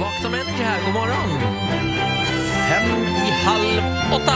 Vakna med Energy här, god morgon! Fem i halv åtta!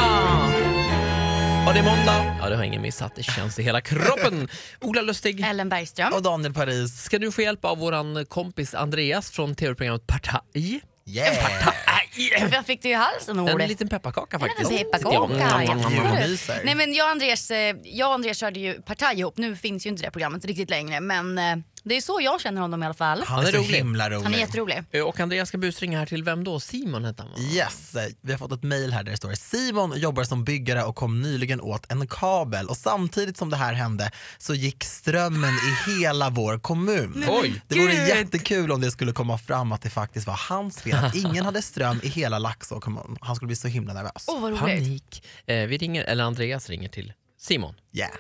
Och det är måndag. Ja, det har ingen missat. Det känns i hela kroppen. Ola Lustig Ellen Bergström. Och Daniel Paris. ska nu få hjälp av vår kompis Andreas från tv-programmet Partaj. Yeah! Aj! Jag fick det i halsen En ordet. liten pepparkaka faktiskt. En Sitter jag- pepparkaka. Mm, mm, absolut. mm, mm. Djurmyser. Nej men jag och Andreas, eh, jag och Andreas körde ju Partaj ihop. Nu finns ju inte det programmet riktigt längre men eh, det är så jag känner honom i alla fall. Han är så rolig. himla rolig. Han är jätterolig. Eh, Och Andreas ska busringa här till vem då? Simon hette han va? Yes, eh, vi har fått ett mejl här där det står Simon jobbar som byggare och kom nyligen åt en kabel och samtidigt som det här hände så gick strömmen i hela vår kommun. Oj. Det vore Gud. jättekul om det skulle komma fram att det faktiskt var hans fel att ingen hade ström i hela Laxå kommun. Han skulle bli så himla nervös. Åh vad roligt. Panik. Eh, vi ringer, eller Andreas ringer till Simon. Yeah.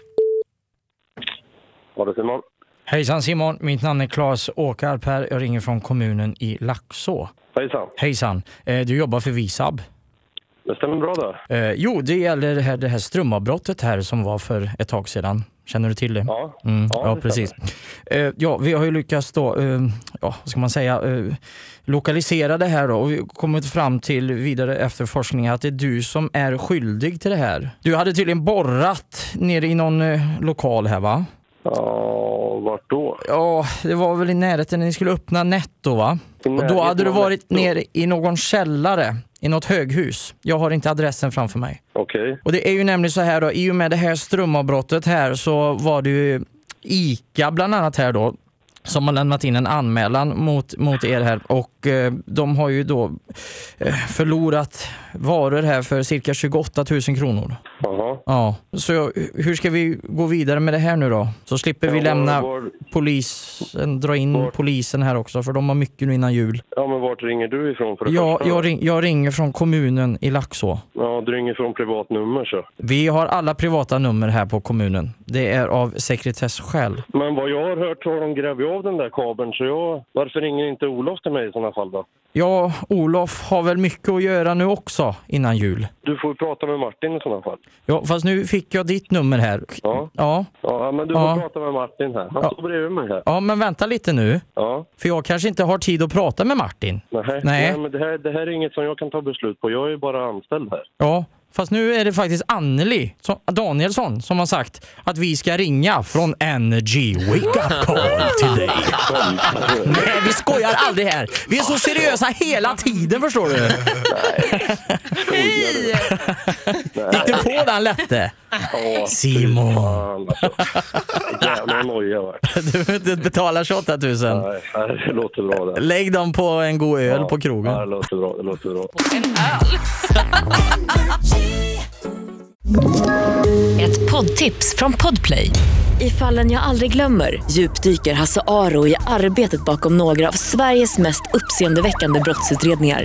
Var det Simon? Hejsan Simon, mitt namn är Claes Åkarp här. Jag ringer från kommunen i Laxå. Hejsan. Hejsan, eh, du jobbar för Visab. Det stämmer bra det. Eh, jo, det gäller det här, det här strömavbrottet här som var för ett tag sedan. Känner du till det? Ja. Mm, Ja, ja, det precis. Eh, ja, vi har ju lyckats då, eh, ja, vad ska man säga, eh, lokalisera det här då och vi har kommit fram till vidare efterforskning att det är du som är skyldig till det här. Du hade tydligen borrat nere i någon eh, lokal här va? Ja, vart då? Ja, det var väl i närheten när ni skulle öppna Netto va? I Och närheten då hade du av varit Netto. nere i någon källare, i något höghus. Jag har inte adressen framför mig. Okej. Och det är ju nämligen så här då, i och med det här strömavbrottet här så var det ju ICA bland annat här då som har lämnat in en anmälan mot, mot er här och eh, de har ju då eh, förlorat varor här för cirka 28 000 kronor. Jaha. Ja, så jag- hur ska vi gå vidare med det här nu då? Så slipper vi Ja, lämna Var, polisen, dra in Var- polisen här också för de har mycket nu innan jul. ja, men vart ringer du ifrån för det Ja, första? jag, ring, jag ringer från kommunen i Laxå. Ja, du ringer från privat nummer så. Vi har alla privata nummer här på kommunen. Det är av sekretesskäl. Men vad jag har hört så har de grävt av den där kabeln så jag... Varför ringer inte Olof till mig i sådana fall då? Ja, Olof har väl mycket att göra nu också innan jul. Du får ju prata med Martin i sådana fall. Ja, fast nu fick jag ditt nummer här. Ja. Ja, Ja, men du Ja. får prata med Martin här. Han Ja. står bredvid mig här. ja men vänta lite nu. Ja. För jag kanske inte har tid att prata med Martin. Nej. Nej. men det här, det här är inget som jag kan ta beslut på. Jag är ju bara anställd här. Ja, fast nu är det faktiskt Anneli som, Danielsson som har sagt att vi ska ringa från Energy Wake Up Call till dig. Nej, vi skojar aldrig här. Vi är så seriösa hela tiden förstår du. Skojar du? Gick du på den lätte? Ja, Simon, fan alltså. Jävla noja vart. du, du betalar 28 000. Nej, nej, det låter bra det. Lägg dem på en god öl på Ja, det krogen. låter bra. Det låter bra. Ett poddtips från Podplay. I fallen jag aldrig glömmer djupdyker Hasse Aro i arbetet bakom några av Sveriges mest uppseendeväckande brottsutredningar.